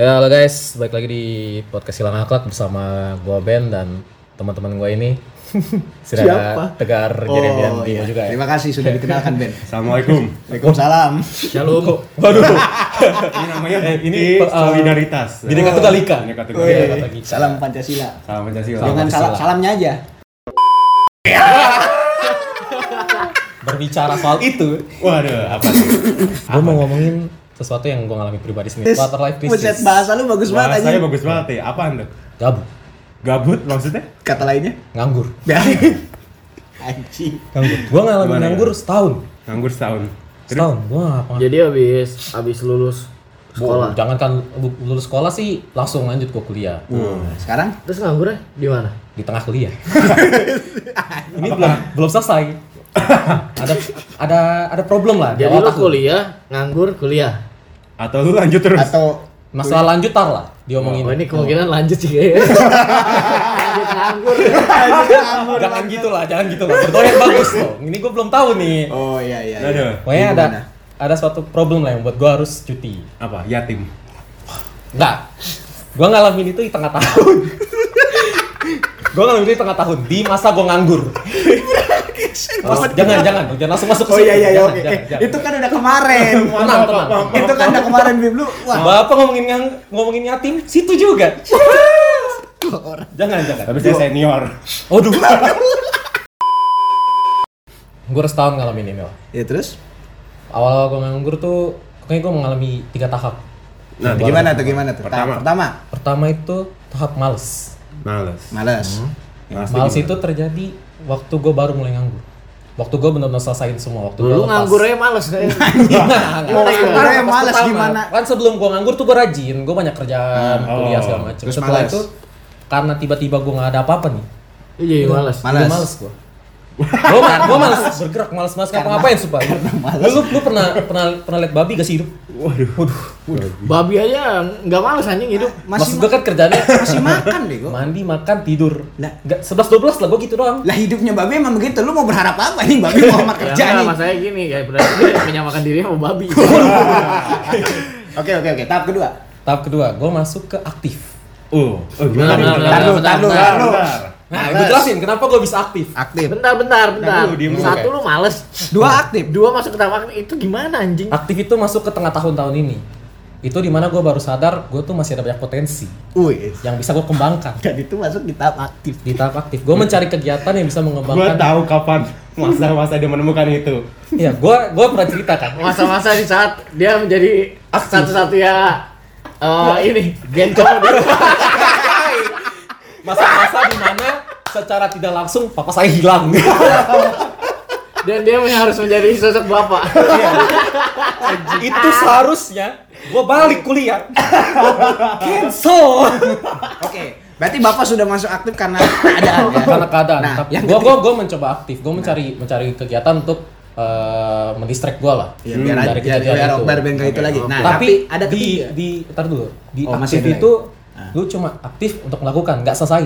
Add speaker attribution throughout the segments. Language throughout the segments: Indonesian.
Speaker 1: Ya, halo guys, balik lagi di podcast Hilang Akhlak bersama gua Ben dan teman-teman gua ini. Sudah ada
Speaker 2: Siapa?
Speaker 1: Tegar Jeremian Bimo
Speaker 2: iya.
Speaker 1: juga ya.
Speaker 2: Terima kasih sudah dikenalkan Ben.
Speaker 3: Assalamualaikum.
Speaker 2: Waalaikumsalam.
Speaker 1: Shalom. Waduh.
Speaker 3: Ini namanya
Speaker 1: ini,
Speaker 3: ini
Speaker 1: eh,
Speaker 3: solidaritas.
Speaker 1: Bhinneka Tunggal Ika.
Speaker 3: Bhinneka Tunggal Ika.
Speaker 1: Wih.
Speaker 2: Woi, salam Pancasila.
Speaker 3: Salam Pancasila.
Speaker 2: Oh, iya, Jangan salam salamnya aja.
Speaker 1: Berbicara soal itu,
Speaker 3: Waduh, apa tuh?
Speaker 1: gua mau ngomongin sesuatu yang gua ngalami pribadi sendiri. Quarter life
Speaker 2: Buset,
Speaker 1: crisis.
Speaker 2: bahasa lu bagus banget
Speaker 3: Bahasanya
Speaker 2: aja.
Speaker 3: bagus banget ya. Apaan tuh?
Speaker 1: Gabut,
Speaker 3: Gabut maksudnya?
Speaker 2: Kata lainnya.
Speaker 1: nganggur,
Speaker 2: Anjing.
Speaker 1: nganggur. Gua ngalamin
Speaker 3: Gimana ya?
Speaker 1: nganggur setahun.
Speaker 3: Nganggur setahun.
Speaker 1: Setahun. Gua apa?
Speaker 4: Jadi habis habis lulus sekolah.
Speaker 1: Jangan kan lulus sekolah sih langsung lanjut ke kuliah.
Speaker 2: Sekarang
Speaker 4: Terus nganggur ya? Di mana?
Speaker 1: Di tengah kuliah. Ini belum belum selesai. ada ada ada problem lah. di
Speaker 4: Jadi lu
Speaker 1: otak lu.
Speaker 4: kuliah, nganggur kuliah.
Speaker 3: Atau lu lanjut terus?
Speaker 2: atau
Speaker 1: Masalah lanjut tar lah diomongin.
Speaker 4: Oh, ini kemungkinan lanjut sih kayaknya. lanjut nganggur.
Speaker 1: jangan gitu lah, jangan gitu lah. Berdoa yang bagus loh. Ini gue belum tahu nih.
Speaker 2: Oh iya iya. iya.
Speaker 3: Aduh.
Speaker 1: Pokoknya ada
Speaker 2: Gimana?
Speaker 1: ada suatu problem lah yang buat gue harus cuti.
Speaker 3: Apa? Yatim.
Speaker 1: Enggak. Gue ngalamin itu di tengah tahun. gue ngalamin itu di tengah tahun di masa gue nganggur. Oh, jangan, jangan, jangan langsung masuk ke
Speaker 2: Oh iya iya iya,
Speaker 1: Jangan,
Speaker 2: oke.
Speaker 1: jangan, jangan.
Speaker 2: Itu kan udah kemarin.
Speaker 1: tenang, tenang.
Speaker 2: Itu kan udah kemarin Bim lu. Wah,
Speaker 1: Bapak ngomongin yang ngomongin yatim, situ juga. jangan, jangan.
Speaker 3: Tapi saya senior.
Speaker 1: Aduh. gue harus tahun ngalamin ini, Mel.
Speaker 2: Ya terus
Speaker 1: Awal-awal gue nganggur tuh, kayaknya gue mengalami tiga tahap.
Speaker 3: Nah,
Speaker 1: Yang
Speaker 2: gimana tuh gimana tuh?
Speaker 3: Pertama.
Speaker 2: Tahap Pertama,
Speaker 1: Pertama itu tahap males.
Speaker 3: Males.
Speaker 2: males.
Speaker 1: Hmm.
Speaker 3: Males
Speaker 1: males
Speaker 3: gimana?
Speaker 1: itu terjadi waktu gue baru mulai nganggur. Waktu gue benar-benar selesaiin semua waktu
Speaker 4: Lu ya? nganggurnya males kayaknya.
Speaker 2: Mau sebenarnya males
Speaker 1: males
Speaker 2: gimana?
Speaker 1: Kan sebelum gue nganggur tuh gue rajin, gue banyak kerjaan,
Speaker 3: Hmm, oh.
Speaker 1: kuliah segala macam.
Speaker 2: Terus
Speaker 1: Setelah
Speaker 2: males.
Speaker 1: itu karena tiba-tiba gue nggak ada apa-apa nih,
Speaker 4: Iya, jadi males.
Speaker 2: Males.
Speaker 1: Udah males gua. Gua ma- gua males bergerak, males males ngapa-ngapain sumpah. Lu, lu lu pernah pernah pernah lihat babi gak sih hidup?
Speaker 3: Waduh.
Speaker 1: Waduh.
Speaker 4: Babi aja nggak males anjing hidup.
Speaker 1: Maksud
Speaker 2: Masih
Speaker 1: gua kan kerjanya
Speaker 2: masih makan deh gua.
Speaker 1: mandi, makan, tidur.
Speaker 2: Lah.
Speaker 1: Enggak 11 12 lah gua gitu doang.
Speaker 2: Lah hidupnya babi emang begitu. Lu mau berharap apa nih babi Muhammad
Speaker 4: Ya
Speaker 2: kerja
Speaker 4: enggak,
Speaker 2: nih?
Speaker 4: masalahnya gini, kayak berarti dia menyamakan dirinya sama babi.
Speaker 2: Oke oke oke. Tahap kedua.
Speaker 1: Tahap kedua, gua masuk ke aktif.
Speaker 3: Uh, oh, gimana?
Speaker 4: Nah,
Speaker 3: nih?
Speaker 4: nah, nah,
Speaker 2: Tar
Speaker 3: Bentar,
Speaker 2: lu,
Speaker 4: bentar,
Speaker 2: tar lu,
Speaker 3: bentar,
Speaker 2: tar lu.
Speaker 3: bentar.
Speaker 1: Nah,
Speaker 2: Males.
Speaker 1: gua jelasin kenapa gua bisa aktif.
Speaker 2: Aktif.
Speaker 4: bentar, bentar, bentar.
Speaker 3: dulu, diem dulu.
Speaker 4: Satu
Speaker 1: Oke.
Speaker 4: lu males.
Speaker 2: Dua aktif.
Speaker 4: Dua masuk ke tamak itu gimana anjing?
Speaker 1: Aktif itu masuk ke tengah tahun tahun ini. Itu dimana gua baru sadar gua tuh masih ada banyak potensi
Speaker 2: Wih.
Speaker 1: yang bisa gua kembangkan
Speaker 2: Dan itu masuk di tahap aktif.
Speaker 1: di tahap aktif. Gua mencari kegiatan yang bisa
Speaker 3: Gua
Speaker 1: mengembangkan.
Speaker 3: tahu kapan masa-masa dia menemukan itu.
Speaker 1: Iya, gua gua pernah cerita kan.
Speaker 4: masa-masa di saat dia menjadi
Speaker 1: Aktif.
Speaker 4: satu-satunya eh ini gencong
Speaker 1: masa-masa di mana secara tidak langsung papa saya hilang.
Speaker 4: dan dia harus menjadi sosok bapak.
Speaker 2: Iya,
Speaker 1: itu seharusnya gue balik kuliah. Cancel.
Speaker 2: Oke. Berarti bapak sudah masuk aktif karena keadaan ya.
Speaker 1: Karena keadaan.
Speaker 2: Nah,
Speaker 1: Tapi
Speaker 2: yang
Speaker 1: gue gua gua mencoba aktif, gue mencari mencari kegiatan untuk eh mendistract gue lah.
Speaker 2: Ya, biar
Speaker 1: Hmm,
Speaker 2: aja,
Speaker 1: dari
Speaker 2: biar,
Speaker 1: kejadian
Speaker 2: biar
Speaker 1: itu.
Speaker 2: Akbar Ben ke itu lagi. Nah,
Speaker 1: tapi,
Speaker 2: ada
Speaker 1: di
Speaker 2: ketiga.
Speaker 1: di tar dulu. Di
Speaker 2: Oh, masih
Speaker 1: aktif
Speaker 2: ada Ah.
Speaker 1: itu lu cuma aktif untuk melakukan, nggak selesai.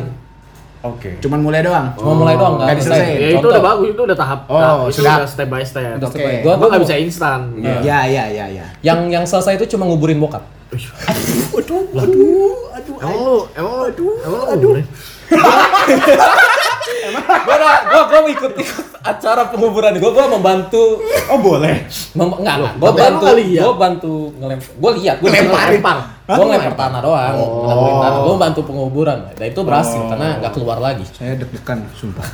Speaker 3: Oke.
Speaker 2: Cuman mulai doang.
Speaker 1: Cuma mulai doang nggak
Speaker 2: Oh. nggak
Speaker 1: selesai.
Speaker 2: diselesain.
Speaker 4: ya itu udah bagus, itu udah tahap.
Speaker 2: nah, Oh,
Speaker 4: tahap itu
Speaker 2: sudah.
Speaker 4: udah step by step.
Speaker 2: Udah. Oke.
Speaker 1: Gue
Speaker 4: Gua nggak bisa instan. Iya.
Speaker 2: Ya, ya, ya, ya.
Speaker 1: Yang yang selesai itu cuma nguburin bokap.
Speaker 2: Aduh, aduh, aduh.
Speaker 4: Emang lu, emang lu, emang lu, umurnya?
Speaker 1: gue gua gua ikut ikut acara penguburan gue gue membantu
Speaker 3: Oh, boleh.
Speaker 1: Mem enggak lah, gue
Speaker 4: tapi emang
Speaker 1: bantu,
Speaker 4: nggak lihat?
Speaker 1: gue bantu ngelempar, gue lihat, gue
Speaker 4: Ngelempar.
Speaker 1: gue ngelempar tanah doang,
Speaker 4: Oh.
Speaker 1: ngelaburin tanah, gue bantu penguburan, dan itu berhasil karena nggak keluar lagi.
Speaker 2: Saya deg-degan, sumpah.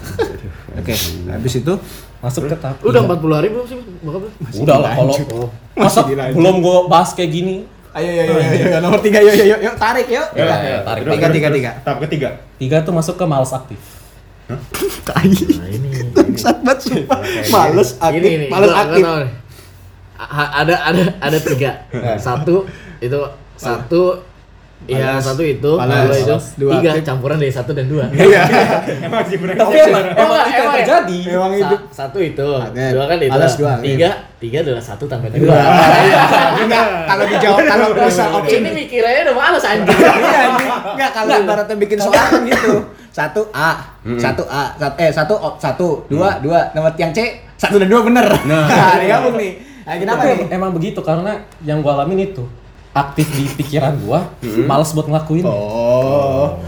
Speaker 2: Oke, habis itu
Speaker 1: Masuk ke iya. tahap.
Speaker 4: Udah empat puluh hari belum sih, bokap lu?
Speaker 1: udah lah kalau
Speaker 2: Oh.
Speaker 1: masa
Speaker 2: dilanjut.
Speaker 1: belum gue bahas kayak gini,
Speaker 2: Ayo, ayo, ayo, ayo, ayo, nomor tiga, yuk, yuk, yuk, yuk, tarik, yuk.
Speaker 1: Ya,
Speaker 2: Tiga,
Speaker 1: ya, tarik,
Speaker 2: tiga,
Speaker 3: Terus,
Speaker 2: tiga,
Speaker 3: terus,
Speaker 2: tiga.
Speaker 3: Tahap ketiga.
Speaker 1: tiga tuh masuk ke males aktif.
Speaker 2: Tai. Bangsat banget, sumpah. Males aktif,
Speaker 4: Ini, ini.
Speaker 2: males
Speaker 4: gua- gua
Speaker 2: aktif.
Speaker 4: tahu nih.
Speaker 2: Nah.
Speaker 4: A- Ada, ada, ada tiga. Satu itu satu
Speaker 2: Panas.
Speaker 4: Iya satu itu,
Speaker 2: Panas.
Speaker 4: dua itu,
Speaker 2: Dua
Speaker 4: tiga
Speaker 2: aktif.
Speaker 4: campuran dari satu dan dua.
Speaker 2: Iya.
Speaker 3: Emang sih bener.
Speaker 1: Tapi emang, emang itu yang
Speaker 4: Emang- emang ya?
Speaker 1: terjadi.
Speaker 2: Memang
Speaker 4: Sa-
Speaker 2: itu.
Speaker 4: satu itu,
Speaker 2: Aktif.
Speaker 4: dua kan itu,
Speaker 2: Panas, dua, iya. aktif.
Speaker 4: tiga, tiga adalah satu tambah dua.
Speaker 2: Enggak, kalau dijawab kalau bisa option.
Speaker 4: Ini mikirannya udah males anjing.
Speaker 2: Iya, anjing. enggak kalau ibaratnya bikin soal kan gitu. Satu A, satu A, sat- eh satu O, satu, dua, dua, nomor yang C, satu dan dua bener.
Speaker 3: Nah.
Speaker 2: Nah, digabung nih. Nah, kenapa
Speaker 1: Kenapa
Speaker 2: nih?
Speaker 1: emang begitu karena yang gua alamin itu aktif di pikiran gua,
Speaker 4: Hmm.
Speaker 1: males buat ngelakuin.
Speaker 2: Oh.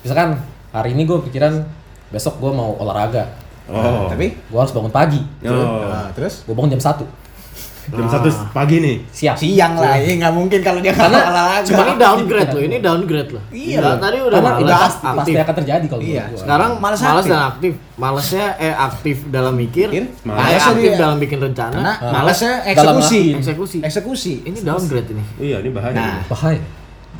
Speaker 1: Misalkan hari ini gua pikiran besok gua mau olahraga.
Speaker 3: Oh.
Speaker 2: Tapi
Speaker 1: Gua harus bangun pagi.
Speaker 3: Oh.
Speaker 2: Nah, terus
Speaker 1: Gua bangun jam 1
Speaker 3: Jam satu pagi nih.
Speaker 1: siang.
Speaker 2: siang lah, ya nggak mungkin kalau dia nggak
Speaker 1: Karena
Speaker 2: olahraga.
Speaker 1: cuma
Speaker 4: ini downgrade loh, ini downgrade loh.
Speaker 2: Iya.
Speaker 4: Nggak, Tadi udah
Speaker 1: Karena itu
Speaker 4: malas,
Speaker 1: pasti, pasti
Speaker 4: aktif.
Speaker 1: akan terjadi kalau
Speaker 2: Iya.
Speaker 1: menurut gua.
Speaker 4: Sekarang
Speaker 2: Malas
Speaker 4: malas,
Speaker 2: aktif.
Speaker 4: dan aktif. Malasnya eh aktif dalam mikir,
Speaker 2: Mikir,
Speaker 4: malas
Speaker 2: malas
Speaker 4: aktif
Speaker 2: dia.
Speaker 4: dalam bikin rencana,
Speaker 2: Iya. Karena
Speaker 4: malas
Speaker 2: malasnya
Speaker 1: dalam
Speaker 2: eksekusi.
Speaker 1: ngelakuin.
Speaker 4: eksekusi.
Speaker 2: Eksekusi.
Speaker 4: Ini downgrade ini.
Speaker 3: Iya, ini bahaya.
Speaker 2: Nah.
Speaker 1: bahaya. Ya,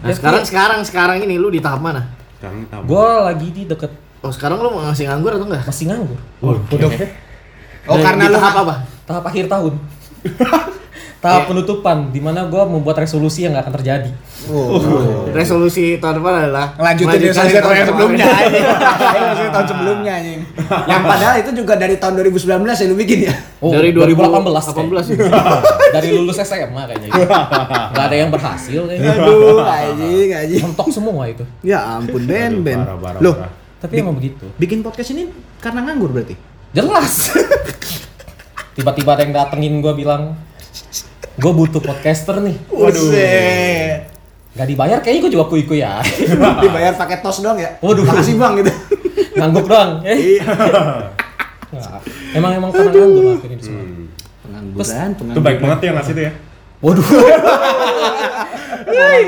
Speaker 4: Nah,
Speaker 2: Iya.
Speaker 4: sekarang sekarang sekarang ini lu di tahap mana?
Speaker 3: Kang tahu.
Speaker 1: Gua lagi di deket
Speaker 4: Oh, sekarang lu masih nganggur atau enggak?
Speaker 1: masih nganggur.
Speaker 3: Waduh.
Speaker 2: Oh,
Speaker 4: Dan
Speaker 2: karena
Speaker 4: di
Speaker 2: lu
Speaker 4: tahap apa?
Speaker 1: Tahap akhir tahun. tahap
Speaker 4: Iya.
Speaker 1: penutupan dimana gua membuat resolusi yang gak akan terjadi.
Speaker 2: Oh.
Speaker 4: Resolusi tahun depan adalah
Speaker 2: Lanjutin
Speaker 4: melanjutkan
Speaker 2: resolusi tahun
Speaker 4: kemarin.
Speaker 2: sebelumnya anjing. Resolusi tahun sebelumnya anjing. Yang padahal itu juga dari tahun 2019 ya lu bikin ya.
Speaker 1: Oh,
Speaker 4: Dari
Speaker 1: 2018
Speaker 4: 2018.
Speaker 1: kayaknya. dari lulus SMA kayaknya itu. Gak ada yang berhasil
Speaker 3: Iya.
Speaker 1: kayaknya.
Speaker 2: Aduh, anjing, anjing.
Speaker 1: Mentok semua itu.
Speaker 2: Ya ampun, Ben,
Speaker 3: Aduh,
Speaker 2: Ben.
Speaker 3: parah, parah,
Speaker 2: Loh,
Speaker 3: parah.
Speaker 1: Tapi emang begitu.
Speaker 2: bikin podcast ini karena nganggur berarti?
Speaker 1: Jelas. Tiba-tiba ada yang datengin gua bilang, gue butuh podcaster nih.
Speaker 2: Waduh.
Speaker 1: Gak dibayar kayaknya gue juga kuy-kuy ya.
Speaker 2: Dibayar pakai tos doang ya?
Speaker 1: Waduh.
Speaker 2: Makasih Bang gitu.
Speaker 1: Ngangguk doang. Eh. Nah, emang emang karena nganggur ngelakuin ini semua.
Speaker 3: Hmm.
Speaker 2: Pengangguran,
Speaker 3: Itu baik banget tuh yang ngasih tuh ya.
Speaker 1: Waduh.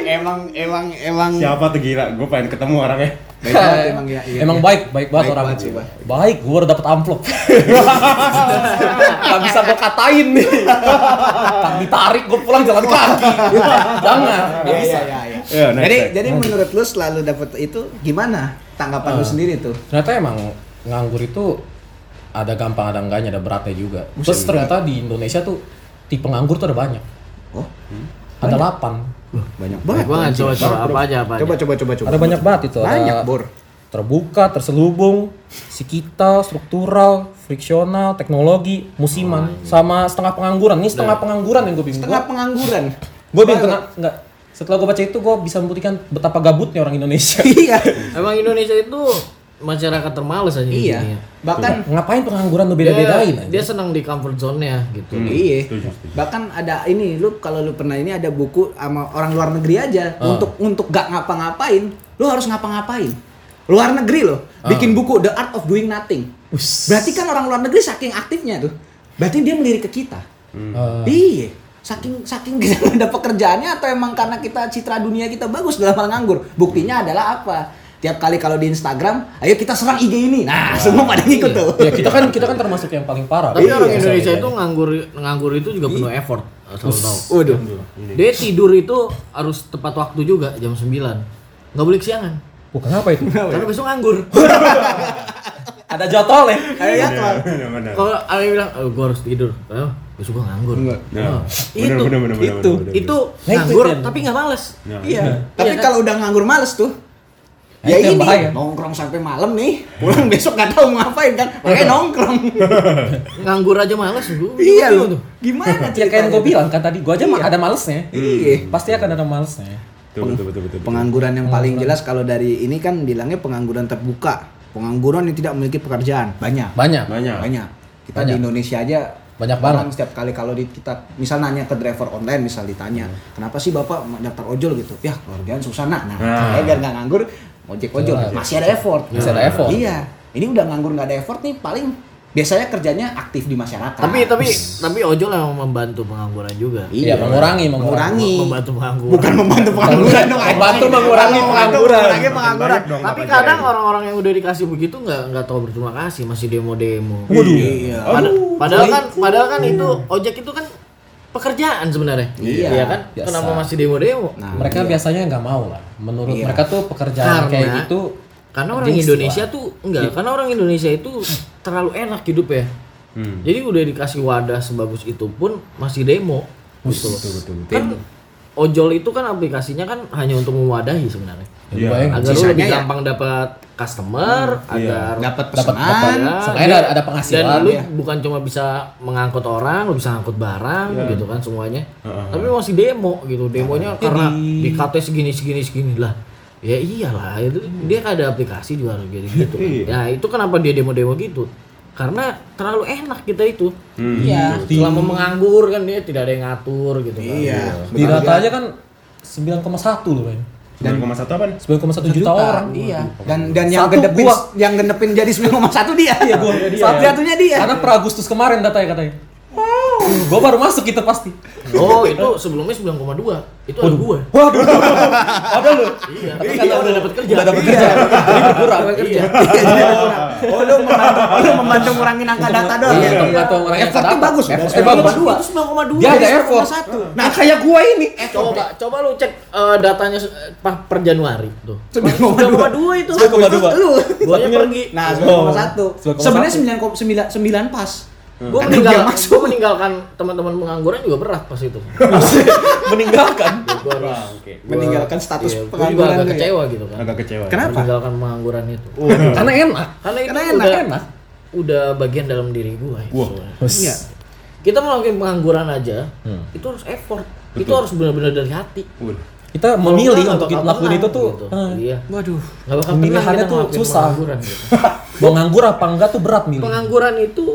Speaker 2: Emang emang emang
Speaker 3: Siapa tuh gila? Gue pengen ketemu orangnya.
Speaker 2: Baik banget emang ya. iya,
Speaker 1: emang
Speaker 2: iya.
Speaker 1: baik, baik banget
Speaker 2: Baik
Speaker 1: orang.
Speaker 2: banget sih, Bang.
Speaker 1: baik, gue udah dapet amplop. Gak bisa gue katain nih. Kan ditarik gue pulang jalan kaki. Jangan. Gak
Speaker 2: Iya,
Speaker 1: bisa.
Speaker 2: iya, iya.
Speaker 3: Iya, next,
Speaker 2: Jadi
Speaker 3: next.
Speaker 2: jadi menurut lu selalu dapat itu gimana? Tanggapan
Speaker 3: Eh.
Speaker 2: lu sendiri tuh?
Speaker 1: ternyata emang nganggur itu ada gampang ada enggaknya ada beratnya juga terus ternyata di Indonesia tuh tipe nganggur tuh ada banyak
Speaker 2: Oh,
Speaker 1: ada delapan
Speaker 2: banyak
Speaker 4: Banyak banget
Speaker 2: anjing.
Speaker 4: coba coba apa aja apa aja.
Speaker 2: Coba coba coba coba.
Speaker 1: ada banyak banget itu ada
Speaker 2: Banyak, Bor.
Speaker 1: terbuka terselubung sikita struktural friksional teknologi
Speaker 2: Oh,
Speaker 1: musiman
Speaker 2: iya.
Speaker 1: sama setengah pengangguran ini setengah pengangguran yang gue bingung
Speaker 2: Tengah pengangguran.
Speaker 1: gue bingung tengah enggak setelah gue baca itu gue bisa membuktikan betapa gabutnya orang Indonesia
Speaker 2: Iya.
Speaker 4: Emang Indonesia itu masyarakat termales aja di
Speaker 2: Iya.
Speaker 4: dunia.
Speaker 2: Bahkan
Speaker 1: ngapain pengangguran lu
Speaker 4: Dia,
Speaker 1: beda-bedain aja?
Speaker 4: Iya, dia senang di comfort zone-nya gitu.
Speaker 3: Hmm,
Speaker 2: Iya.
Speaker 3: setuju, setuju.
Speaker 2: Bahkan ada ini lu kalau lu pernah ini ada buku sama orang luar negeri aja
Speaker 1: Ah.
Speaker 2: untuk untuk gak ngapa-ngapain, lu harus ngapa-ngapain. Luar negeri loh,
Speaker 1: Ah.
Speaker 2: bikin buku The Art of Doing Nothing.
Speaker 1: Us.
Speaker 2: Berarti kan orang luar negeri saking aktifnya tuh. Berarti dia melirik ke kita.
Speaker 1: Eh,
Speaker 2: Iya. Saking saking kita nggak ada pekerjaannya atau emang karena kita citra dunia kita bagus dalam hal nganggur. Buktinya adalah apa? Tiap kali kalau di Instagram, ayo kita serang IG ini. Nah, semua pada ngikut tuh.
Speaker 1: ya kita kan kita kan termasuk yang paling parah
Speaker 4: Tapi
Speaker 1: Iya,
Speaker 4: orang
Speaker 1: misalnya
Speaker 4: Indonesia
Speaker 1: jadi.
Speaker 4: itu nganggur nganggur itu juga penuh effort, asal lu tahu. Iya.
Speaker 2: Waduh.
Speaker 4: Dia tidur itu harus tepat waktu juga jam 9. Nggak boleh kesiangan.
Speaker 1: Wah, kenapa itu?
Speaker 4: Karena besok nganggur.
Speaker 1: Ada jadwal ya?
Speaker 2: Ayo ya, Tuan.
Speaker 3: Bener, bener.
Speaker 4: Kalau ada yang bilang, "Eh, gua harus tidur." Eh, besok gua nganggur.
Speaker 2: Enggak.
Speaker 4: Nah,
Speaker 3: Nah,
Speaker 4: itu
Speaker 3: bener, bener, bener, bener,
Speaker 2: itu,
Speaker 3: bener, bener.
Speaker 4: itu
Speaker 1: Nah, itu
Speaker 4: nganggur
Speaker 1: yang-
Speaker 4: tapi nggak males.
Speaker 3: Nah.
Speaker 2: Iya. Tapi kalau udah nganggur males tuh.
Speaker 1: Nah,
Speaker 2: Ya
Speaker 1: itu yang
Speaker 2: ini
Speaker 1: bahaya.
Speaker 2: nongkrong sampai malam nih. Pulang besok nggak tahu mau ngapain kan. Makanya
Speaker 1: Iya.
Speaker 2: nongkrong.
Speaker 4: Nganggur aja males gua.
Speaker 2: iya
Speaker 4: gua
Speaker 2: loh.
Speaker 4: tuh.
Speaker 1: Ya
Speaker 2: Gimana
Speaker 1: kayak yang gue
Speaker 2: ceritanya?
Speaker 1: bilang kan tadi, gue aja mah ada malesnya.
Speaker 2: Iya.
Speaker 1: Pasti akan ada malesnya.
Speaker 3: Betul, betul, betul, betul.
Speaker 2: Pengangguran yang paling
Speaker 1: Hmm.
Speaker 2: jelas kalau dari ini kan bilangnya pengangguran terbuka. Pengangguran yang tidak memiliki pekerjaan banyak.
Speaker 1: Banyak.
Speaker 3: Banyak.
Speaker 2: Banyak. Kita
Speaker 1: Banyak.
Speaker 2: di Indonesia aja
Speaker 1: Banyak
Speaker 2: orang
Speaker 1: banget.
Speaker 2: setiap kali kalau di, kita misal nanya ke driver online misal ditanya,
Speaker 1: Hmm.
Speaker 2: "Kenapa sih Bapak daftar ojol gitu?" Ya, keluargaan susah nah. Nah,
Speaker 3: Nah.
Speaker 2: saya biar nggak nganggur ojek ojol
Speaker 1: Jelas.
Speaker 2: masih ada effort.
Speaker 1: Masih ada effort.
Speaker 2: Iya. Ini udah nganggur nggak ada effort nih paling biasanya kerjanya aktif di masyarakat. Iya.
Speaker 4: Tapi tapi tapi ojol emang membantu pengangguran juga.
Speaker 1: Iya, mengurangi, mengurangi.
Speaker 2: Mengurangi.
Speaker 4: Membantu pengangguran.
Speaker 2: Bukan membantu pengangguran dong. anjing.
Speaker 1: Membantu mengurangi pengangguran.
Speaker 2: Mengurangi pengangguran.
Speaker 3: Banyak dong,
Speaker 4: Tapi
Speaker 3: apa
Speaker 4: kadang
Speaker 3: ajaib.
Speaker 4: orang-orang yang udah dikasih begitu nggak nggak tahu berterima kasih, masih demo-demo.
Speaker 1: Waduh.
Speaker 2: Iya.
Speaker 4: Pada- padahal kan padahal kan itu ojek itu kan pekerjaan sebenarnya.
Speaker 2: Iya,
Speaker 4: kan?
Speaker 1: biasa.
Speaker 4: Kenapa masih demo-demo?
Speaker 2: Nah,
Speaker 1: Mereka
Speaker 2: iya.
Speaker 1: biasanya nggak mau lah. Menurut
Speaker 2: Iya.
Speaker 1: mereka tuh pekerjaan
Speaker 4: Karena-
Speaker 1: kayak gitu.
Speaker 4: karena orang
Speaker 1: jinx
Speaker 4: Indonesia
Speaker 1: lah.
Speaker 4: tuh enggak, karena orang Indonesia itu terlalu enak hidup ya.
Speaker 3: Hmm.
Speaker 4: Jadi udah dikasih wadah sebagus itu pun masih demo. Gitu.
Speaker 3: Betul, betul, betul.
Speaker 4: Kan ojol itu kan aplikasinya kan hanya untuk mewadahi sebenarnya.
Speaker 3: Iya.
Speaker 4: Agar lu
Speaker 2: Sisanya
Speaker 4: lebih
Speaker 2: ya-
Speaker 4: gampang dapat customer, agar
Speaker 2: Dapat
Speaker 1: Dapat-
Speaker 2: pesanan.
Speaker 1: dapat-
Speaker 4: Ya,
Speaker 1: Seenggaknya
Speaker 4: dia-
Speaker 1: ada- ada penghasilan,
Speaker 4: Dan lu
Speaker 1: ya.
Speaker 4: bukan cuma bisa mengangkut orang, lu bisa angkut barang gitu kan semuanya. Tapi masih demo gitu. Demonya karena di KT segini segini segini lah. Ya iyalah, itu dia kan ada aplikasi juga harus jadi gitu. kan.
Speaker 3: Iya.
Speaker 4: Nah, itu kenapa dia demo-demo gitu? Karena terlalu enak kita itu.
Speaker 3: Hmm.
Speaker 2: Iya.
Speaker 4: Selama menganggur kan dia tidak ada yang ngatur gitu kan.
Speaker 2: Iya.
Speaker 1: Di rata aja kan 9,1 loh men.
Speaker 3: 9,1 apaan?
Speaker 1: 9,1 juta orang.
Speaker 2: Iya. Dan dan yang
Speaker 1: Satu
Speaker 2: gendepin
Speaker 1: gua.
Speaker 2: yang gendepin jadi 9,1 dia.
Speaker 1: Iya gua.
Speaker 2: Satu-satunya dia.
Speaker 1: Karena per Agustus kemarin datanya katanya. Gua baru masuk itu pasti.
Speaker 4: Oh, itu sebelumnya 9,2. Itu ada gua.
Speaker 1: Waduh. Ada lu.
Speaker 4: Iya, tapi kan udah dapat kerja.
Speaker 1: Udah dapat kerja. Jadi berkurang.
Speaker 4: Dapat kerja.
Speaker 2: Iya, iya. Oh, lu membantu, lu membantu ngurangin angka data doang
Speaker 1: Iya,
Speaker 2: ya.
Speaker 1: untuk membantu ngurangin angka
Speaker 2: Effortnya
Speaker 1: data.
Speaker 2: bagus,
Speaker 1: Effortnya bagus.
Speaker 4: Itu 9,2.
Speaker 1: Dia ada
Speaker 4: Jadi
Speaker 1: effort.
Speaker 4: 9,1.
Speaker 1: Nah, kayak gua ini.
Speaker 4: Eh, Iya, coba coba lu cek eh, datanya se- eh, pa- per Januari tuh.
Speaker 2: 9,2.
Speaker 4: 9,2 itu.
Speaker 1: 9,2.
Speaker 2: Lu.
Speaker 4: Guanya pergi.
Speaker 2: Nah,
Speaker 1: Oh.
Speaker 2: 9,1. Sebenarnya 9,9 9 pas.
Speaker 1: Hmm.
Speaker 4: Gua
Speaker 2: Kan
Speaker 4: meninggal,
Speaker 2: dia masuk.
Speaker 4: gua meninggalkan teman-teman pengangguran juga berat pas itu.
Speaker 1: Meninggalkan.
Speaker 4: Gua harus-
Speaker 3: Ah, Oke.
Speaker 4: gua-
Speaker 2: Meninggalkan status
Speaker 4: iya, gua juga
Speaker 2: pengangguran lu
Speaker 4: agak
Speaker 2: ya.
Speaker 4: kecewa gitu kan.
Speaker 3: Agak kecewa. ya.
Speaker 2: Kenapa? Oh.
Speaker 4: Meninggalkan pengangguran itu.
Speaker 1: Karena enak.
Speaker 4: Karena itu
Speaker 2: Karena
Speaker 4: udah,
Speaker 2: enak,
Speaker 1: enak.
Speaker 4: udah bagian dalam diri gua. itu.
Speaker 3: Wah.
Speaker 2: Iya.
Speaker 4: Kita melakukan pengangguran aja,
Speaker 2: Hmm.
Speaker 4: itu harus effort. Itu harus benar-benar dari hati.
Speaker 3: Waduh.
Speaker 1: Kita
Speaker 4: Kalau
Speaker 1: memilih
Speaker 4: enggak,
Speaker 1: untuk
Speaker 4: bakal
Speaker 1: lakuin
Speaker 4: tenang,
Speaker 1: itu tuh.
Speaker 4: gitu.
Speaker 1: eh,
Speaker 4: Iya.
Speaker 2: Waduh.
Speaker 4: Gak bakal
Speaker 1: Pemilihannya
Speaker 4: tenang kita
Speaker 1: tuh
Speaker 4: ngelakuin
Speaker 1: susah.
Speaker 4: Pengangguran, gitu.
Speaker 1: Mau nganggur apa enggak tuh berat milih.
Speaker 4: Pengangguran itu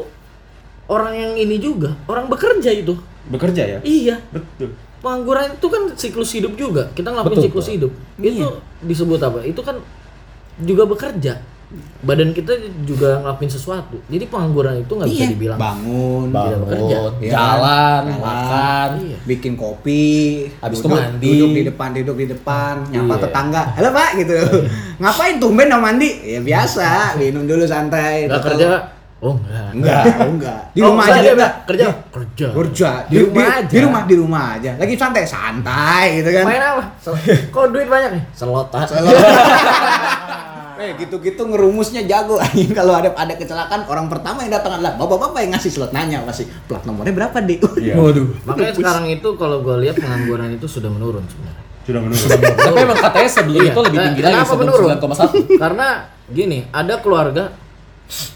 Speaker 4: orang yang ini juga, orang bekerja itu.
Speaker 3: Bekerja ya?
Speaker 4: Iya.
Speaker 3: Betul.
Speaker 4: Pengangguran itu kan siklus hidup juga. Kita ngelakuin
Speaker 1: Betul,
Speaker 4: siklus hidup. Itu disebut apa? Itu kan juga bekerja. Badan kita juga ngelakuin sesuatu. Jadi pengangguran itu nggak bisa
Speaker 2: Iya.
Speaker 4: dibilang.
Speaker 2: Bangun,
Speaker 4: Tidak bekerja.
Speaker 2: Iya.
Speaker 1: Jalan,
Speaker 2: Jalan.
Speaker 1: makan.
Speaker 4: Iya.
Speaker 2: bikin kopi,
Speaker 1: Habis itu
Speaker 2: duduk,
Speaker 1: mandi.
Speaker 2: duduk di depan, duduk di depan, nyapa
Speaker 4: Iya.
Speaker 2: tetangga, halo pak gitu, ngapain tumben mau mandi? Ya biasa, minum dulu santai.
Speaker 4: Nggak
Speaker 2: Tetep-
Speaker 4: kerja. Oh enggak.
Speaker 2: Enggak, enggak. Di
Speaker 4: Oh,
Speaker 2: rumah
Speaker 4: enggak,
Speaker 2: aja
Speaker 4: dia
Speaker 2: dia
Speaker 4: bilang, kerja. Kerja.
Speaker 2: kerja
Speaker 4: Di rumah aja.
Speaker 2: di rumah di rumah aja lagi santai santai gitu kan
Speaker 4: Main apa? Sel- Kok duit banyak nih? Selotan.
Speaker 2: eh gitu-gitu ngerumusnya jago anjing kalau ada ada kecelakaan orang pertama yang datang adalah bapak-bapak yang ngasih slot nanya pasti plat nomornya berapa deh
Speaker 3: Iya.
Speaker 1: Waduh.
Speaker 4: Makanya sekarang itu kalau gue lihat pengangguran itu sudah menurun sebenarnya.
Speaker 3: Sudah menurun.
Speaker 1: Tapi emang katanya sebelum Oh,
Speaker 4: Iya,
Speaker 1: itu lebih tinggi
Speaker 4: kenapa
Speaker 1: lagi sebelum
Speaker 4: menurun?
Speaker 1: 9,1.
Speaker 4: Karena gini, ada keluarga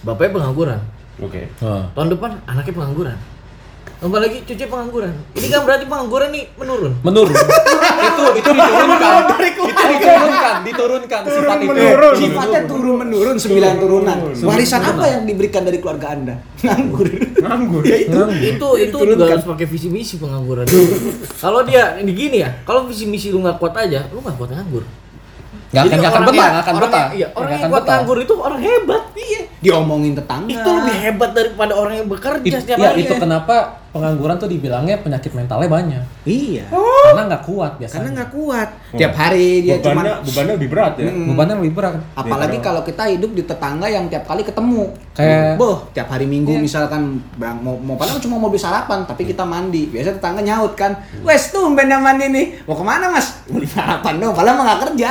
Speaker 4: bapaknya pengangguran.
Speaker 3: Oke.
Speaker 4: Tahun depan anaknya pengangguran. Tambah lagi cucu pengangguran. Ini kan berarti pengangguran nih menurun.
Speaker 1: menurun itu itu diturunkan itu diturunkan diturunkan sifat itu
Speaker 3: menurun.
Speaker 2: sifatnya turun menurun sembilan turunan
Speaker 3: Turun-menurun.
Speaker 2: warisan apa yang diberikan dari keluarga anda nganggur
Speaker 3: Nganggur.
Speaker 2: ya itu
Speaker 4: Itu itu juga harus pakai visi misi pengangguran. kalau dia ini gini ya, kalau visi misi lu nggak kuat aja, lu nggak kuat nganggur.
Speaker 1: nggak akan
Speaker 4: Jadi
Speaker 1: nggak akan
Speaker 4: orang
Speaker 1: betah
Speaker 4: yang-
Speaker 1: nggak akan
Speaker 4: orang
Speaker 1: betah
Speaker 4: yang- Iya, orang
Speaker 1: Nggak
Speaker 4: yang
Speaker 1: akan
Speaker 4: kuat
Speaker 1: betah.
Speaker 4: nganggur itu orang hebat. Iya.
Speaker 2: diomongin tetangga
Speaker 4: Itu lebih hebat daripada orang yang bekerja
Speaker 1: It-
Speaker 4: setiap
Speaker 1: iya,
Speaker 4: hari. ya?
Speaker 1: itu kenapa pengangguran tuh dibilangnya penyakit mentalnya banyak
Speaker 2: iya
Speaker 1: karena nggak kuat
Speaker 2: karena
Speaker 1: biasanya
Speaker 2: nggak kuat Oh. tiap hari dia cuma
Speaker 3: Bebannya, bebannya lebih berat ya.
Speaker 1: bebannya lebih berat
Speaker 2: Apalagi kalau kita hidup di tetangga yang tiap kali ketemu.
Speaker 1: Kayak-
Speaker 2: boh, tiap hari Minggu misalkan bang, mau mau padahal cuma mau beli sarapan, tapi kita mandi. Biasa tetangga nyaut kan. Wes tumben yang mandi nih. Mau kemana Mas? Mau beli sarapan dong, padahal mah nggak kerja.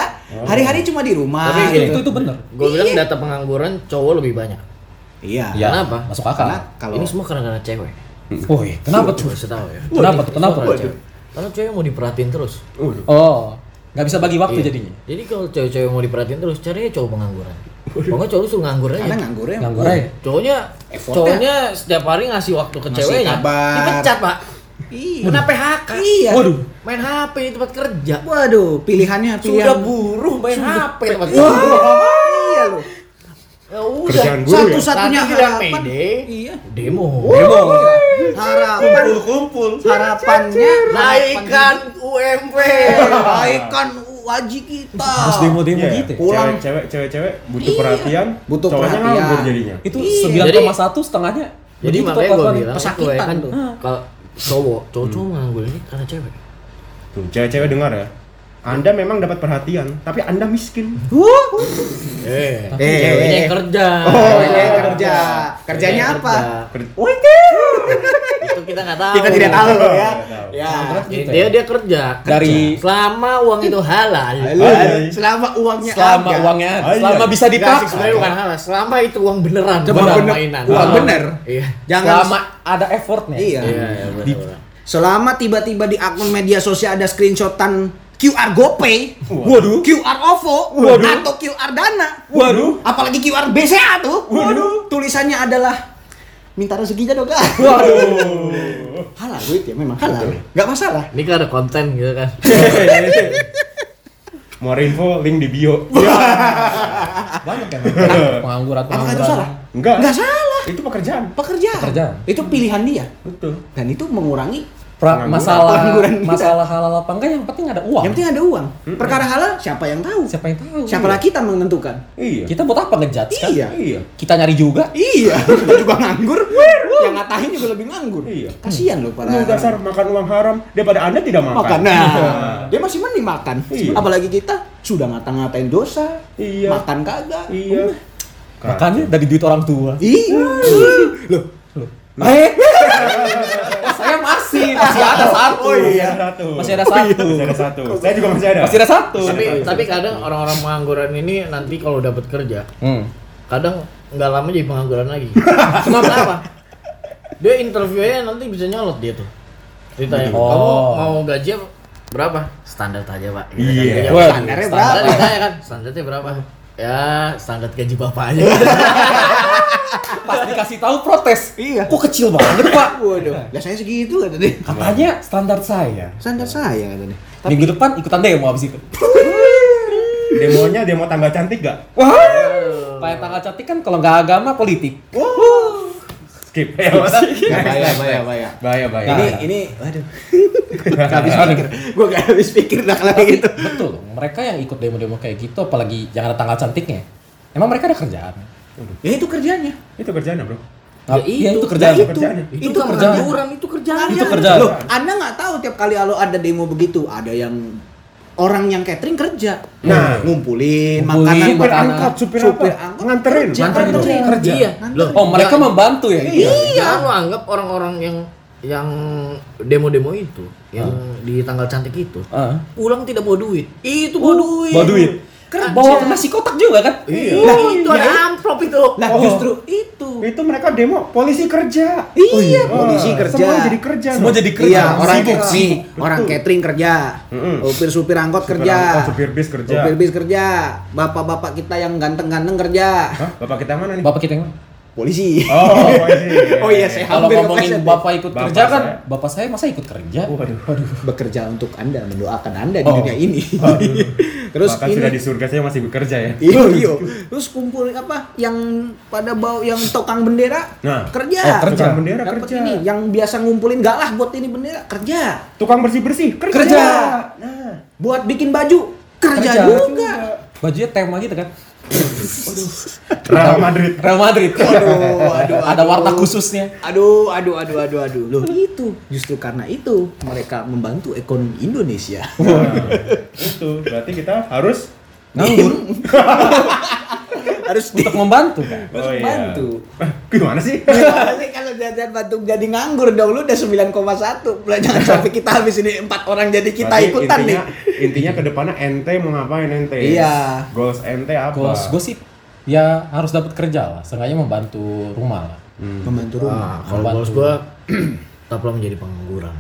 Speaker 2: Hari-hari cuma di rumah.
Speaker 4: Tapi
Speaker 1: Iya, itu
Speaker 2: gitu.
Speaker 1: itu bener
Speaker 4: Gue bilang data pengangguran cowok lebih banyak.
Speaker 2: Iya.
Speaker 1: Iya,
Speaker 4: Kenapa?
Speaker 1: masuk
Speaker 2: Karena
Speaker 1: akal
Speaker 2: kalau
Speaker 4: Ini semua karena cewek.
Speaker 1: woi kenapa tuh
Speaker 4: Bisa tahu ya.
Speaker 1: Kenapa tuh? Kenapa?
Speaker 4: Karena cewek. Karena cewek mau diperhatiin terus.
Speaker 3: Waduh.
Speaker 1: oh nggak bisa bagi waktu
Speaker 4: Iya.
Speaker 1: jadinya
Speaker 4: Jadi kalau cewek-cewek mau diperhatiin terus, carinya cowok pengangguran. Kalau nggak cowok lu suruh nganggur aja.
Speaker 2: karena nganggurnya.
Speaker 1: nganggur aja
Speaker 4: Cowoknya,
Speaker 2: Effortnya.
Speaker 4: cowoknya setiap hari ngasih waktu ke
Speaker 2: Ngasih
Speaker 4: ceweknya.
Speaker 2: kabar.
Speaker 4: Dipecat pak.
Speaker 2: Iya.
Speaker 4: Kena PHK.
Speaker 2: Iya.
Speaker 1: waduh
Speaker 4: Main HP di tempat kerja.
Speaker 2: Waduh, pilihannya pilihan.
Speaker 4: Sudah buruh main HP di tempat
Speaker 2: Wah,
Speaker 4: kerja.
Speaker 2: iya loh.
Speaker 4: Ya udah.
Speaker 3: Kerjaan guru ya?
Speaker 2: Satu-satunya
Speaker 4: Nanti bilang
Speaker 2: harapan.
Speaker 4: pede.
Speaker 2: Iya.
Speaker 4: Demo.
Speaker 2: Harapan kumpul-kumpul. Harapannya
Speaker 4: Naikkan UMP.
Speaker 2: Naikkan wajib kita.
Speaker 1: harus demo demo
Speaker 3: Iya,
Speaker 1: gitu ya? Iya.
Speaker 2: Pulang.
Speaker 3: Cewek, cewek, cewek butuh perhatian.
Speaker 2: Butuh
Speaker 3: cowoknya
Speaker 2: perhatian.
Speaker 3: nganggur jadinya.
Speaker 1: itu
Speaker 2: Iya.
Speaker 1: 9,1 setengahnya
Speaker 4: Jadi
Speaker 1: begitu
Speaker 4: makanya gue
Speaker 1: kelakuan.
Speaker 4: bilang itu
Speaker 2: Pesakitan
Speaker 4: ya kan
Speaker 2: tuh.
Speaker 4: kalau cowok, cowok-cowok nganggur ini karena cewek.
Speaker 3: Tuh, cewek-cewek dengar ya. Anda memang dapat perhatian, tapi Anda miskin.
Speaker 4: Eh,
Speaker 2: Eh, eh,
Speaker 4: ceweknya
Speaker 2: eh.
Speaker 4: yang kerja. Iya,
Speaker 2: Oh, iya, kerja. Kerjanya
Speaker 4: Kerja.
Speaker 2: apa?
Speaker 3: Ker-
Speaker 4: Itu kita nggak tahu. Iya.
Speaker 2: Kita tidak tahu ya.
Speaker 3: tahu.
Speaker 2: Ya.
Speaker 4: Dia dia, dia kerja.
Speaker 1: Dari-
Speaker 4: selama uang itu halal.
Speaker 2: Lalu, selama uangnya
Speaker 1: selama
Speaker 2: ada.
Speaker 1: uangnya ada,
Speaker 3: Ah, iya.
Speaker 1: selama bisa
Speaker 4: Nggak, sebenarnya
Speaker 1: dipakai
Speaker 4: bukan halal. Selama itu uang beneran,
Speaker 1: Coba
Speaker 4: bukan
Speaker 1: bener-
Speaker 4: mainan.
Speaker 2: uang
Speaker 4: Ah.
Speaker 2: bener.
Speaker 4: Iya.
Speaker 2: Jangan
Speaker 1: selama ada effortnya
Speaker 2: Iya.
Speaker 4: Iya, iya, bener,
Speaker 1: Di-
Speaker 4: bener.
Speaker 2: Selama tiba-tiba di akun media sosial ada screenshotan QR GoPay,
Speaker 1: Waduh.
Speaker 2: QR OVO,
Speaker 1: Waduh.
Speaker 2: atau QR Dana,
Speaker 1: Waduh.
Speaker 2: apalagi QR BCA tuh,
Speaker 1: Waduh.
Speaker 2: tulisannya adalah minta rezeki aja dong kak.
Speaker 1: Waduh.
Speaker 2: halal duit ya memang halal, nggak masalah.
Speaker 4: Ini kan ada konten gitu kan.
Speaker 3: Mau ada info link di bio.
Speaker 1: Banyak ya. Nah, pengangguran
Speaker 2: Apakah itu salah?
Speaker 3: Enggak.
Speaker 2: Nggak salah.
Speaker 3: Itu pekerjaan.
Speaker 2: Pekerjaan.
Speaker 1: Pekerjaan.
Speaker 2: Itu pilihan dia.
Speaker 3: Betul.
Speaker 2: Dan itu mengurangi.
Speaker 1: Pra-
Speaker 3: Pengangguran.
Speaker 1: masalah
Speaker 2: Pengangguran kita.
Speaker 1: masalah halal apa enggak yang penting ada uang.
Speaker 2: Yang penting ada uang. Perkara halal siapa yang tahu?
Speaker 1: Siapa yang tahu?
Speaker 2: Siapa lagi kita menentukan?
Speaker 3: Iya.
Speaker 1: Kita buat apa ngejudge kan?
Speaker 2: Iya.
Speaker 3: Iya.
Speaker 1: Kita nyari juga.
Speaker 2: Iya, kita juga nganggur. Yang ngatain juga lebih nganggur.
Speaker 3: Iya.
Speaker 2: Kasihan loh para.
Speaker 3: Lu dasar makan uang haram daripada Anda tidak makan.
Speaker 2: makan. Nah,
Speaker 3: Iya.
Speaker 2: dia masih mending makan.
Speaker 3: Iya.
Speaker 2: Apalagi kita sudah ngata-ngatain dosa.
Speaker 3: Iya.
Speaker 2: Makan kagak.
Speaker 3: Iya.
Speaker 1: Makanya dari duit orang tua.
Speaker 2: Iya. Loh, Nah.
Speaker 1: Eh. saya masih masih ada satu.
Speaker 3: Oh iya. Satu.
Speaker 1: Masih ada satu.
Speaker 3: Masih ada satu. Saya juga masih ada.
Speaker 1: Masih ada satu.
Speaker 2: Iya.
Speaker 4: tapi tapi kadang orang-orang pengangguran ini nanti kalau dapat kerja,
Speaker 1: Hmm.
Speaker 4: kadang nggak lama jadi pengangguran lagi. Kenapa? Kenapa? Dia interviewnya nanti bisa nyolot dia tuh. Ditanya,
Speaker 1: Oh.
Speaker 4: kamu mau gaji apa? berapa? Standar aja pak. Gitu kan.
Speaker 3: Iya.
Speaker 4: Dia jawab,
Speaker 1: Waduh.
Speaker 2: standarnya
Speaker 4: Standar
Speaker 2: berapa?
Speaker 4: ditanya kan, standarnya berapa? Ya, standar gaji bapak aja.
Speaker 1: Pas dikasih tahu protes.
Speaker 2: Iya.
Speaker 1: Kok kecil banget, Pak?
Speaker 2: Waduh, biasanya segitu kata dia.
Speaker 1: Katanya standar saya.
Speaker 2: Standar saya kata dia.
Speaker 1: Minggu depan ikutan demo abis itu.
Speaker 3: Demonya demo tanggal cantik gak?
Speaker 1: Wah. Kayak tanggal cantik kan kalau nggak agama politik.
Speaker 3: Skip.
Speaker 2: Iya,
Speaker 3: Iya.
Speaker 2: Bahaya, bahaya, bahaya.
Speaker 3: Bahaya bahaya.
Speaker 2: Ini, ini, waduh. Gak habis pikir. Gue gak habis pikir dah kalau
Speaker 1: Tapi
Speaker 2: gitu.
Speaker 1: betul, loh, mereka yang ikut demo-demo kayak gitu, apalagi yang ada tanggal cantiknya, emang mereka ada kerjaan.
Speaker 2: Ya itu kerjanya.
Speaker 3: itu kerjaan bro.
Speaker 1: Nah, iya itu kerjaan.
Speaker 2: Ya itu,
Speaker 3: Kerjaan ya?
Speaker 2: itu,
Speaker 4: itu
Speaker 1: kerjaan.
Speaker 4: pengangguran, itu kerjaan.
Speaker 1: Itu kerjaan.
Speaker 2: Loh, Anda nggak tahu tiap kali kalau ada demo begitu, ada yang orang yang catering kerja.
Speaker 3: Nah.
Speaker 2: ngumpulin,
Speaker 1: Ngumpulin, supir
Speaker 2: makanan, makanan.
Speaker 1: angkot,
Speaker 3: supir apa?
Speaker 2: angkot
Speaker 3: Nganterin.
Speaker 2: kerja,
Speaker 1: Nganterin
Speaker 2: kerja.
Speaker 1: doang.
Speaker 3: Kerja.
Speaker 4: Iya.
Speaker 2: Nganterin.
Speaker 4: Loh,
Speaker 1: Oh, mereka
Speaker 4: Jangan-
Speaker 1: membantu ya?
Speaker 2: Iya.
Speaker 4: Jangan lo anggap orang-orang yang yang demo-demo itu, yang di tanggal cantik itu,
Speaker 1: Ah.
Speaker 4: pulang tidak bawa duit. Itu bawa duit.
Speaker 1: Oh, Bawa duit.
Speaker 4: Iya. Kerja.
Speaker 1: Bawa nasi kotak juga kan?
Speaker 4: Iya.
Speaker 1: Nah,
Speaker 4: Nah, itu ada amplop itu.
Speaker 2: Lah
Speaker 1: Oh.
Speaker 2: justru itu.
Speaker 3: Itu mereka demo polisi kerja.
Speaker 2: Iya,
Speaker 3: Oh,
Speaker 2: polisi kerja.
Speaker 3: Semua jadi kerja.
Speaker 1: Semua
Speaker 3: loh.
Speaker 1: jadi kerja.
Speaker 2: Iya, orang
Speaker 1: sibuk,
Speaker 2: nih,
Speaker 1: sibuk.
Speaker 2: orang
Speaker 3: Betul.
Speaker 2: catering kerja,
Speaker 3: Mm-mm.
Speaker 2: supir supir angkot
Speaker 3: Supir
Speaker 2: kerja,
Speaker 3: angkot, supir bis kerja.
Speaker 2: supir bis kerja, bapak bapak kita yang ganteng ganteng kerja,
Speaker 3: Hah? Bapak kita mana nih?
Speaker 1: Bapak kita yang
Speaker 2: polisi.
Speaker 3: Oh, polisi.
Speaker 2: Oh iya, saya
Speaker 1: kalau
Speaker 2: hampir
Speaker 1: ngomongin
Speaker 2: kepleset deh.
Speaker 1: bapak ikut
Speaker 3: Bapak
Speaker 1: kerja kan,
Speaker 3: saya.
Speaker 1: bapak saya masa ikut kerja?
Speaker 3: Waduh.
Speaker 2: bekerja untuk anda, mendoakan anda di
Speaker 1: Oh.
Speaker 2: dunia ini.
Speaker 3: Terus
Speaker 2: Terus
Speaker 3: Bahkan
Speaker 2: ini
Speaker 3: sudah di surga saya masih bekerja ya.
Speaker 2: Iya, iya. Terus kumpul apa yang pada bau yang tokang bendera
Speaker 3: Nah.
Speaker 2: kerja.
Speaker 1: Oh, kerja.
Speaker 3: Tukang bendera
Speaker 2: Dapat
Speaker 3: kerja.
Speaker 2: ini yang biasa ngumpulin galah buat ini bendera kerja.
Speaker 3: Tukang bersih-bersih kerja.
Speaker 2: Kerja.
Speaker 3: Nah.
Speaker 2: Buat bikin baju kerja,
Speaker 1: Kerja.
Speaker 2: juga.
Speaker 1: Bajunya tema gitu kan?
Speaker 3: Real Madrid.
Speaker 1: Real Madrid.
Speaker 2: Aduh, aduh,
Speaker 1: Ada
Speaker 2: aduh.
Speaker 1: warna khususnya.
Speaker 2: Aduh, aduh, aduh, aduh, aduh. Loh, itu Gitu. justru karena itu mereka membantu ekonomi Indonesia.
Speaker 3: Nah, itu berarti kita harus
Speaker 1: Nganggur
Speaker 2: Harus di
Speaker 1: untuk membantu
Speaker 3: Iya.
Speaker 1: kan?
Speaker 2: Harus bantu.
Speaker 3: Oh, Eh, Gimana sih?
Speaker 2: Gimana sih kalau jajan batuk jadi nganggur dong lu udah 9,1 Lah, jangan sampai kita habis ini empat orang jadi kita
Speaker 3: Berarti
Speaker 2: ikutan
Speaker 3: intinya,
Speaker 2: nih
Speaker 3: Intinya ke depannya ente mau ngapain ente?
Speaker 2: Iya.
Speaker 3: Goals ente apa?
Speaker 1: Gue gue sih ya harus dapat kerja lah, seenggaknya membantu rumah lah.
Speaker 2: membantu
Speaker 4: Ah, kalau bos gua tetaplah menjadi pengangguran.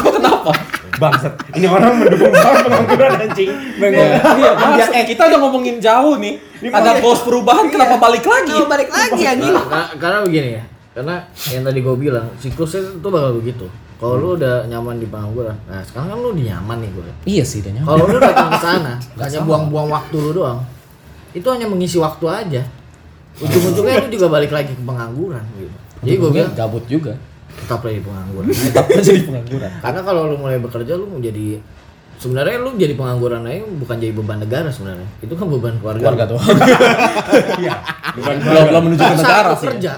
Speaker 1: Kok kenapa?
Speaker 3: Bangsat. Ini orang mendukung banget pengangguran anjing.
Speaker 1: Iya, maksud- kita udah ngomongin jauh nih. Ada bos perubahan, kenapa balik lagi?
Speaker 2: Kalau balik lagi ya gila.
Speaker 4: Karena, karena begini ya. Karena yang tadi gua bilang, siklusnya itu bakal begitu. Kalau lu udah nyaman di pengangguran, nah sekarang kan lu udah nyaman nih gua.
Speaker 1: Iya sih, dia nyaman.
Speaker 4: Kalau lu datang ke sana, hanya buang-buang waktu lu doang. Itu hanya mengisi waktu aja. Ujung-ujungnya itu juga balik lagi ke pengangguran gitu. Jadi gua bilang
Speaker 1: gabut juga.
Speaker 4: tetaplah di pengangguran.
Speaker 1: Tetap jadi pengangguran.
Speaker 4: Karena kalau lu mulai bekerja lu mau jadi sebenarnya lu jadi pengangguran aja bukan jadi beban negara sebenarnya. Itu kan beban keluarga.
Speaker 1: Keluarga tuh.
Speaker 3: Iya. Bukan
Speaker 1: belum belum menuju ke
Speaker 4: Saat
Speaker 1: negara
Speaker 4: lu
Speaker 1: sih.
Speaker 4: kerja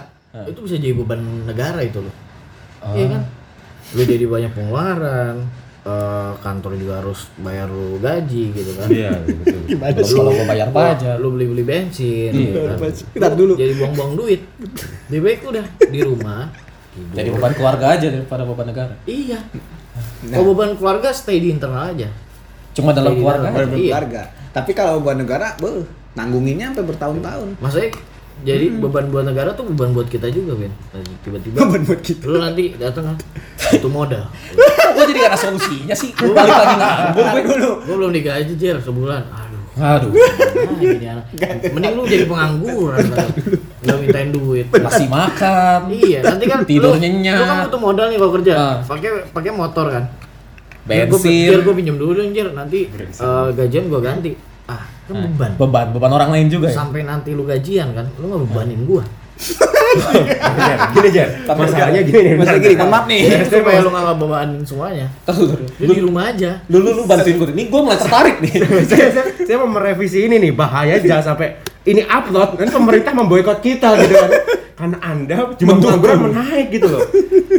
Speaker 4: itu bisa jadi beban negara itu lo.
Speaker 1: Ah.
Speaker 4: Iya kan? Lu jadi banyak pengeluaran, eh, kantor juga harus bayar lu gaji gitu kan.
Speaker 3: Iya, betul.
Speaker 1: Belum kalau gua bayar pajak. Iya.
Speaker 4: Lu beli-beli bensin. gitu kan.
Speaker 2: Bentar dulu.
Speaker 4: Jadi buang-buang duit. Lebih baik udah di rumah. tidur.
Speaker 1: Jadi beban keluarga aja daripada beban negara.
Speaker 4: Iya. Kalau beban keluarga stay di internal aja.
Speaker 1: Cuma dalam
Speaker 4: Jadi
Speaker 1: keluarga.
Speaker 4: dalam-
Speaker 1: aja.
Speaker 4: Iya.
Speaker 2: Keluarga. Tapi kalau buat negara, beuh, nanggunginnya sampai bertahun-tahun.
Speaker 4: Maksudnya jadi beban buat negara tuh beban buat kita juga, Ben. Nah, Tiba-tiba
Speaker 2: Beban buat kita.
Speaker 4: lu nanti datang kan itu modal
Speaker 1: Kok gue jadi gak ada solusinya sih? Gue balik lagi nganggur gue dulu.
Speaker 4: gue belum digaji jir sebulan aduh
Speaker 1: Aduh,
Speaker 4: gimana Nah, jadi anak. mending lu jadi pengangguran lu mintain duit
Speaker 1: masih makan.
Speaker 4: iya nanti kan
Speaker 1: Tidur
Speaker 4: lu-
Speaker 1: nyenyak.
Speaker 4: lu kan butuh modal nih kalau kerja
Speaker 1: Ah.
Speaker 4: pakai pakai motor kan
Speaker 1: Bensin.
Speaker 4: gue pinjam dulu anjir nanti eh, gajian gue ganti ah kan beban
Speaker 1: Beban, beban Ah. orang lain juga ya.
Speaker 4: sampai nanti lu gajian kan lu nggak bebanin gua
Speaker 3: Jar, gini Jar, masalahnya gini nih. Iya,
Speaker 2: Masalah gini, mohon maaf nih.
Speaker 4: Jadi Iya, supaya lu nggak bebanin semuanya
Speaker 1: Terus, terus.
Speaker 4: lu di rumah aja
Speaker 1: lu lu lu bantuin gue ini gue mulai tertarik nih
Speaker 3: saya, saya, saya mau merevisi ini nih bahaya jangan sampai ini upload nanti pemerintah memboikot kita gitu kan karena anda cuma pengangguran menaik gitu loh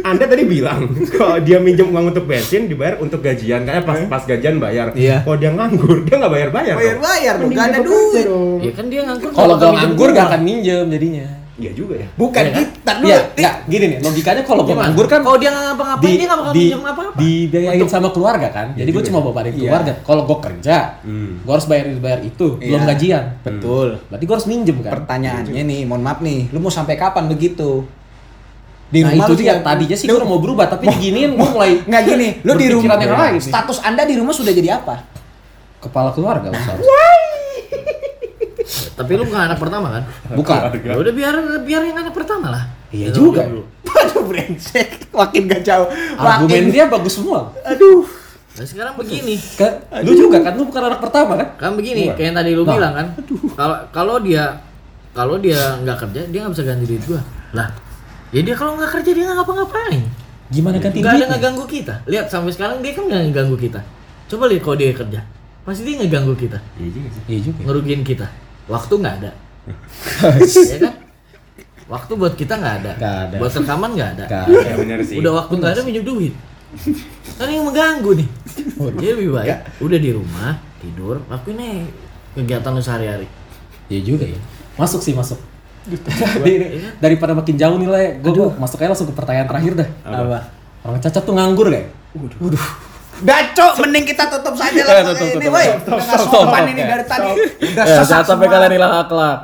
Speaker 3: anda tadi bilang kalau dia minjem uang untuk bensin dibayar untuk gajian karena
Speaker 2: Eh.
Speaker 3: pas pas gajian bayar
Speaker 1: Iya.
Speaker 3: kalau dia nganggur dia nggak bayar bayar
Speaker 2: Bayar-bayar, dong, nggak ada duit.
Speaker 4: ya kan dia nganggur
Speaker 1: kalau gue
Speaker 4: nggak minjem
Speaker 1: nganggur
Speaker 4: gua.
Speaker 1: gak akan minjem jadinya
Speaker 3: iya juga ya
Speaker 2: Bukan
Speaker 1: Iya,
Speaker 2: kita dulu.
Speaker 1: iya nggak gini nih logikanya kalau gue
Speaker 4: Gimana?
Speaker 1: nganggur kan
Speaker 4: Iya, kalau dia nggak ngapa-ngapain dia nggak bakal minjem apa-apa
Speaker 1: dibiayain sama keluarga kan jadi gue
Speaker 3: juga
Speaker 1: cuma
Speaker 3: ya.
Speaker 1: bawain
Speaker 2: Iya.
Speaker 1: keluarga kalau gue kerja
Speaker 3: Hmm.
Speaker 1: gue harus bayar bayar itu belum
Speaker 2: Iya.
Speaker 1: gajian
Speaker 2: Betul.
Speaker 1: berarti gue harus minjem
Speaker 2: Iya,
Speaker 1: kan
Speaker 2: Pertanyaannya nih, mohon maaf nih, lu mau sampai kapan begitu? Di
Speaker 1: nah
Speaker 2: rumah
Speaker 1: itu
Speaker 2: lu
Speaker 1: dia
Speaker 2: juga-
Speaker 1: tadinya sih gue mau berubah tapi diginiin gue mulai
Speaker 2: Nggak gini, lu di
Speaker 1: berpikiran
Speaker 2: rumah
Speaker 1: yang lain nih.
Speaker 2: status anda di rumah sudah jadi apa?
Speaker 1: kepala keluarga lu harus.
Speaker 4: tapi lu bukan anak pertama kan
Speaker 1: bukan
Speaker 4: ya udah biar biar yang anak pertama lah
Speaker 1: iya
Speaker 4: Gitu.
Speaker 1: juga
Speaker 2: Waduh brengsek, makin gak jauh.
Speaker 1: argumen dia bagus semua
Speaker 2: aduh.
Speaker 4: nah, sekarang begini
Speaker 1: Ke- lu juga kan lu bukan anak pertama kan
Speaker 4: kan begini kayak yang tadi lu
Speaker 1: Nah.
Speaker 4: bilang kan kalau kalau dia kalau dia nggak kerja dia nggak bisa ganti duit gua lah ya dia kalau nggak kerja dia nggak ngapa-ngapain
Speaker 1: gimana ganti
Speaker 4: nggak ada
Speaker 1: duitnya?
Speaker 4: ngeganggu kita lihat sampai sekarang dia kan nggak ngeganggu kita coba lihat kalau dia kerja pasti dia ngeganggu kita
Speaker 3: iya juga sih
Speaker 1: iya juga
Speaker 4: ngerugiin kita waktu nggak ada ya kan waktu buat kita nggak ada.
Speaker 1: Nggak ada.
Speaker 4: buat rekaman nggak ada
Speaker 1: Nggak.
Speaker 3: ya benar sih
Speaker 4: udah waktu nggak ada minjem duit kan yang mengganggu nih jadi lebih baik udah di rumah tidur lakuin aja kegiatan lu sehari-hari
Speaker 1: Iya juga ya. Masuk sih masuk.
Speaker 2: Gitu.
Speaker 1: Dari- daripada makin jauh nilai, gue masuk aja langsung ke pertanyaan terakhir dah.
Speaker 3: Apa?
Speaker 1: Orang cacat tuh nganggur gak? ya?
Speaker 2: Gacok, mending kita tutup saja
Speaker 1: Eh,
Speaker 2: lah
Speaker 1: tutup,
Speaker 2: ini,
Speaker 1: tutup,
Speaker 2: woi.
Speaker 1: tutup,
Speaker 2: Udah
Speaker 1: stop,
Speaker 2: nggak
Speaker 1: stop,
Speaker 2: sopan
Speaker 1: stop,
Speaker 2: ini
Speaker 1: stop.
Speaker 2: dari tadi. Udah
Speaker 1: Eh,
Speaker 2: sesak
Speaker 1: Jangan sampai
Speaker 2: semua.
Speaker 1: kalian hilang akhlak.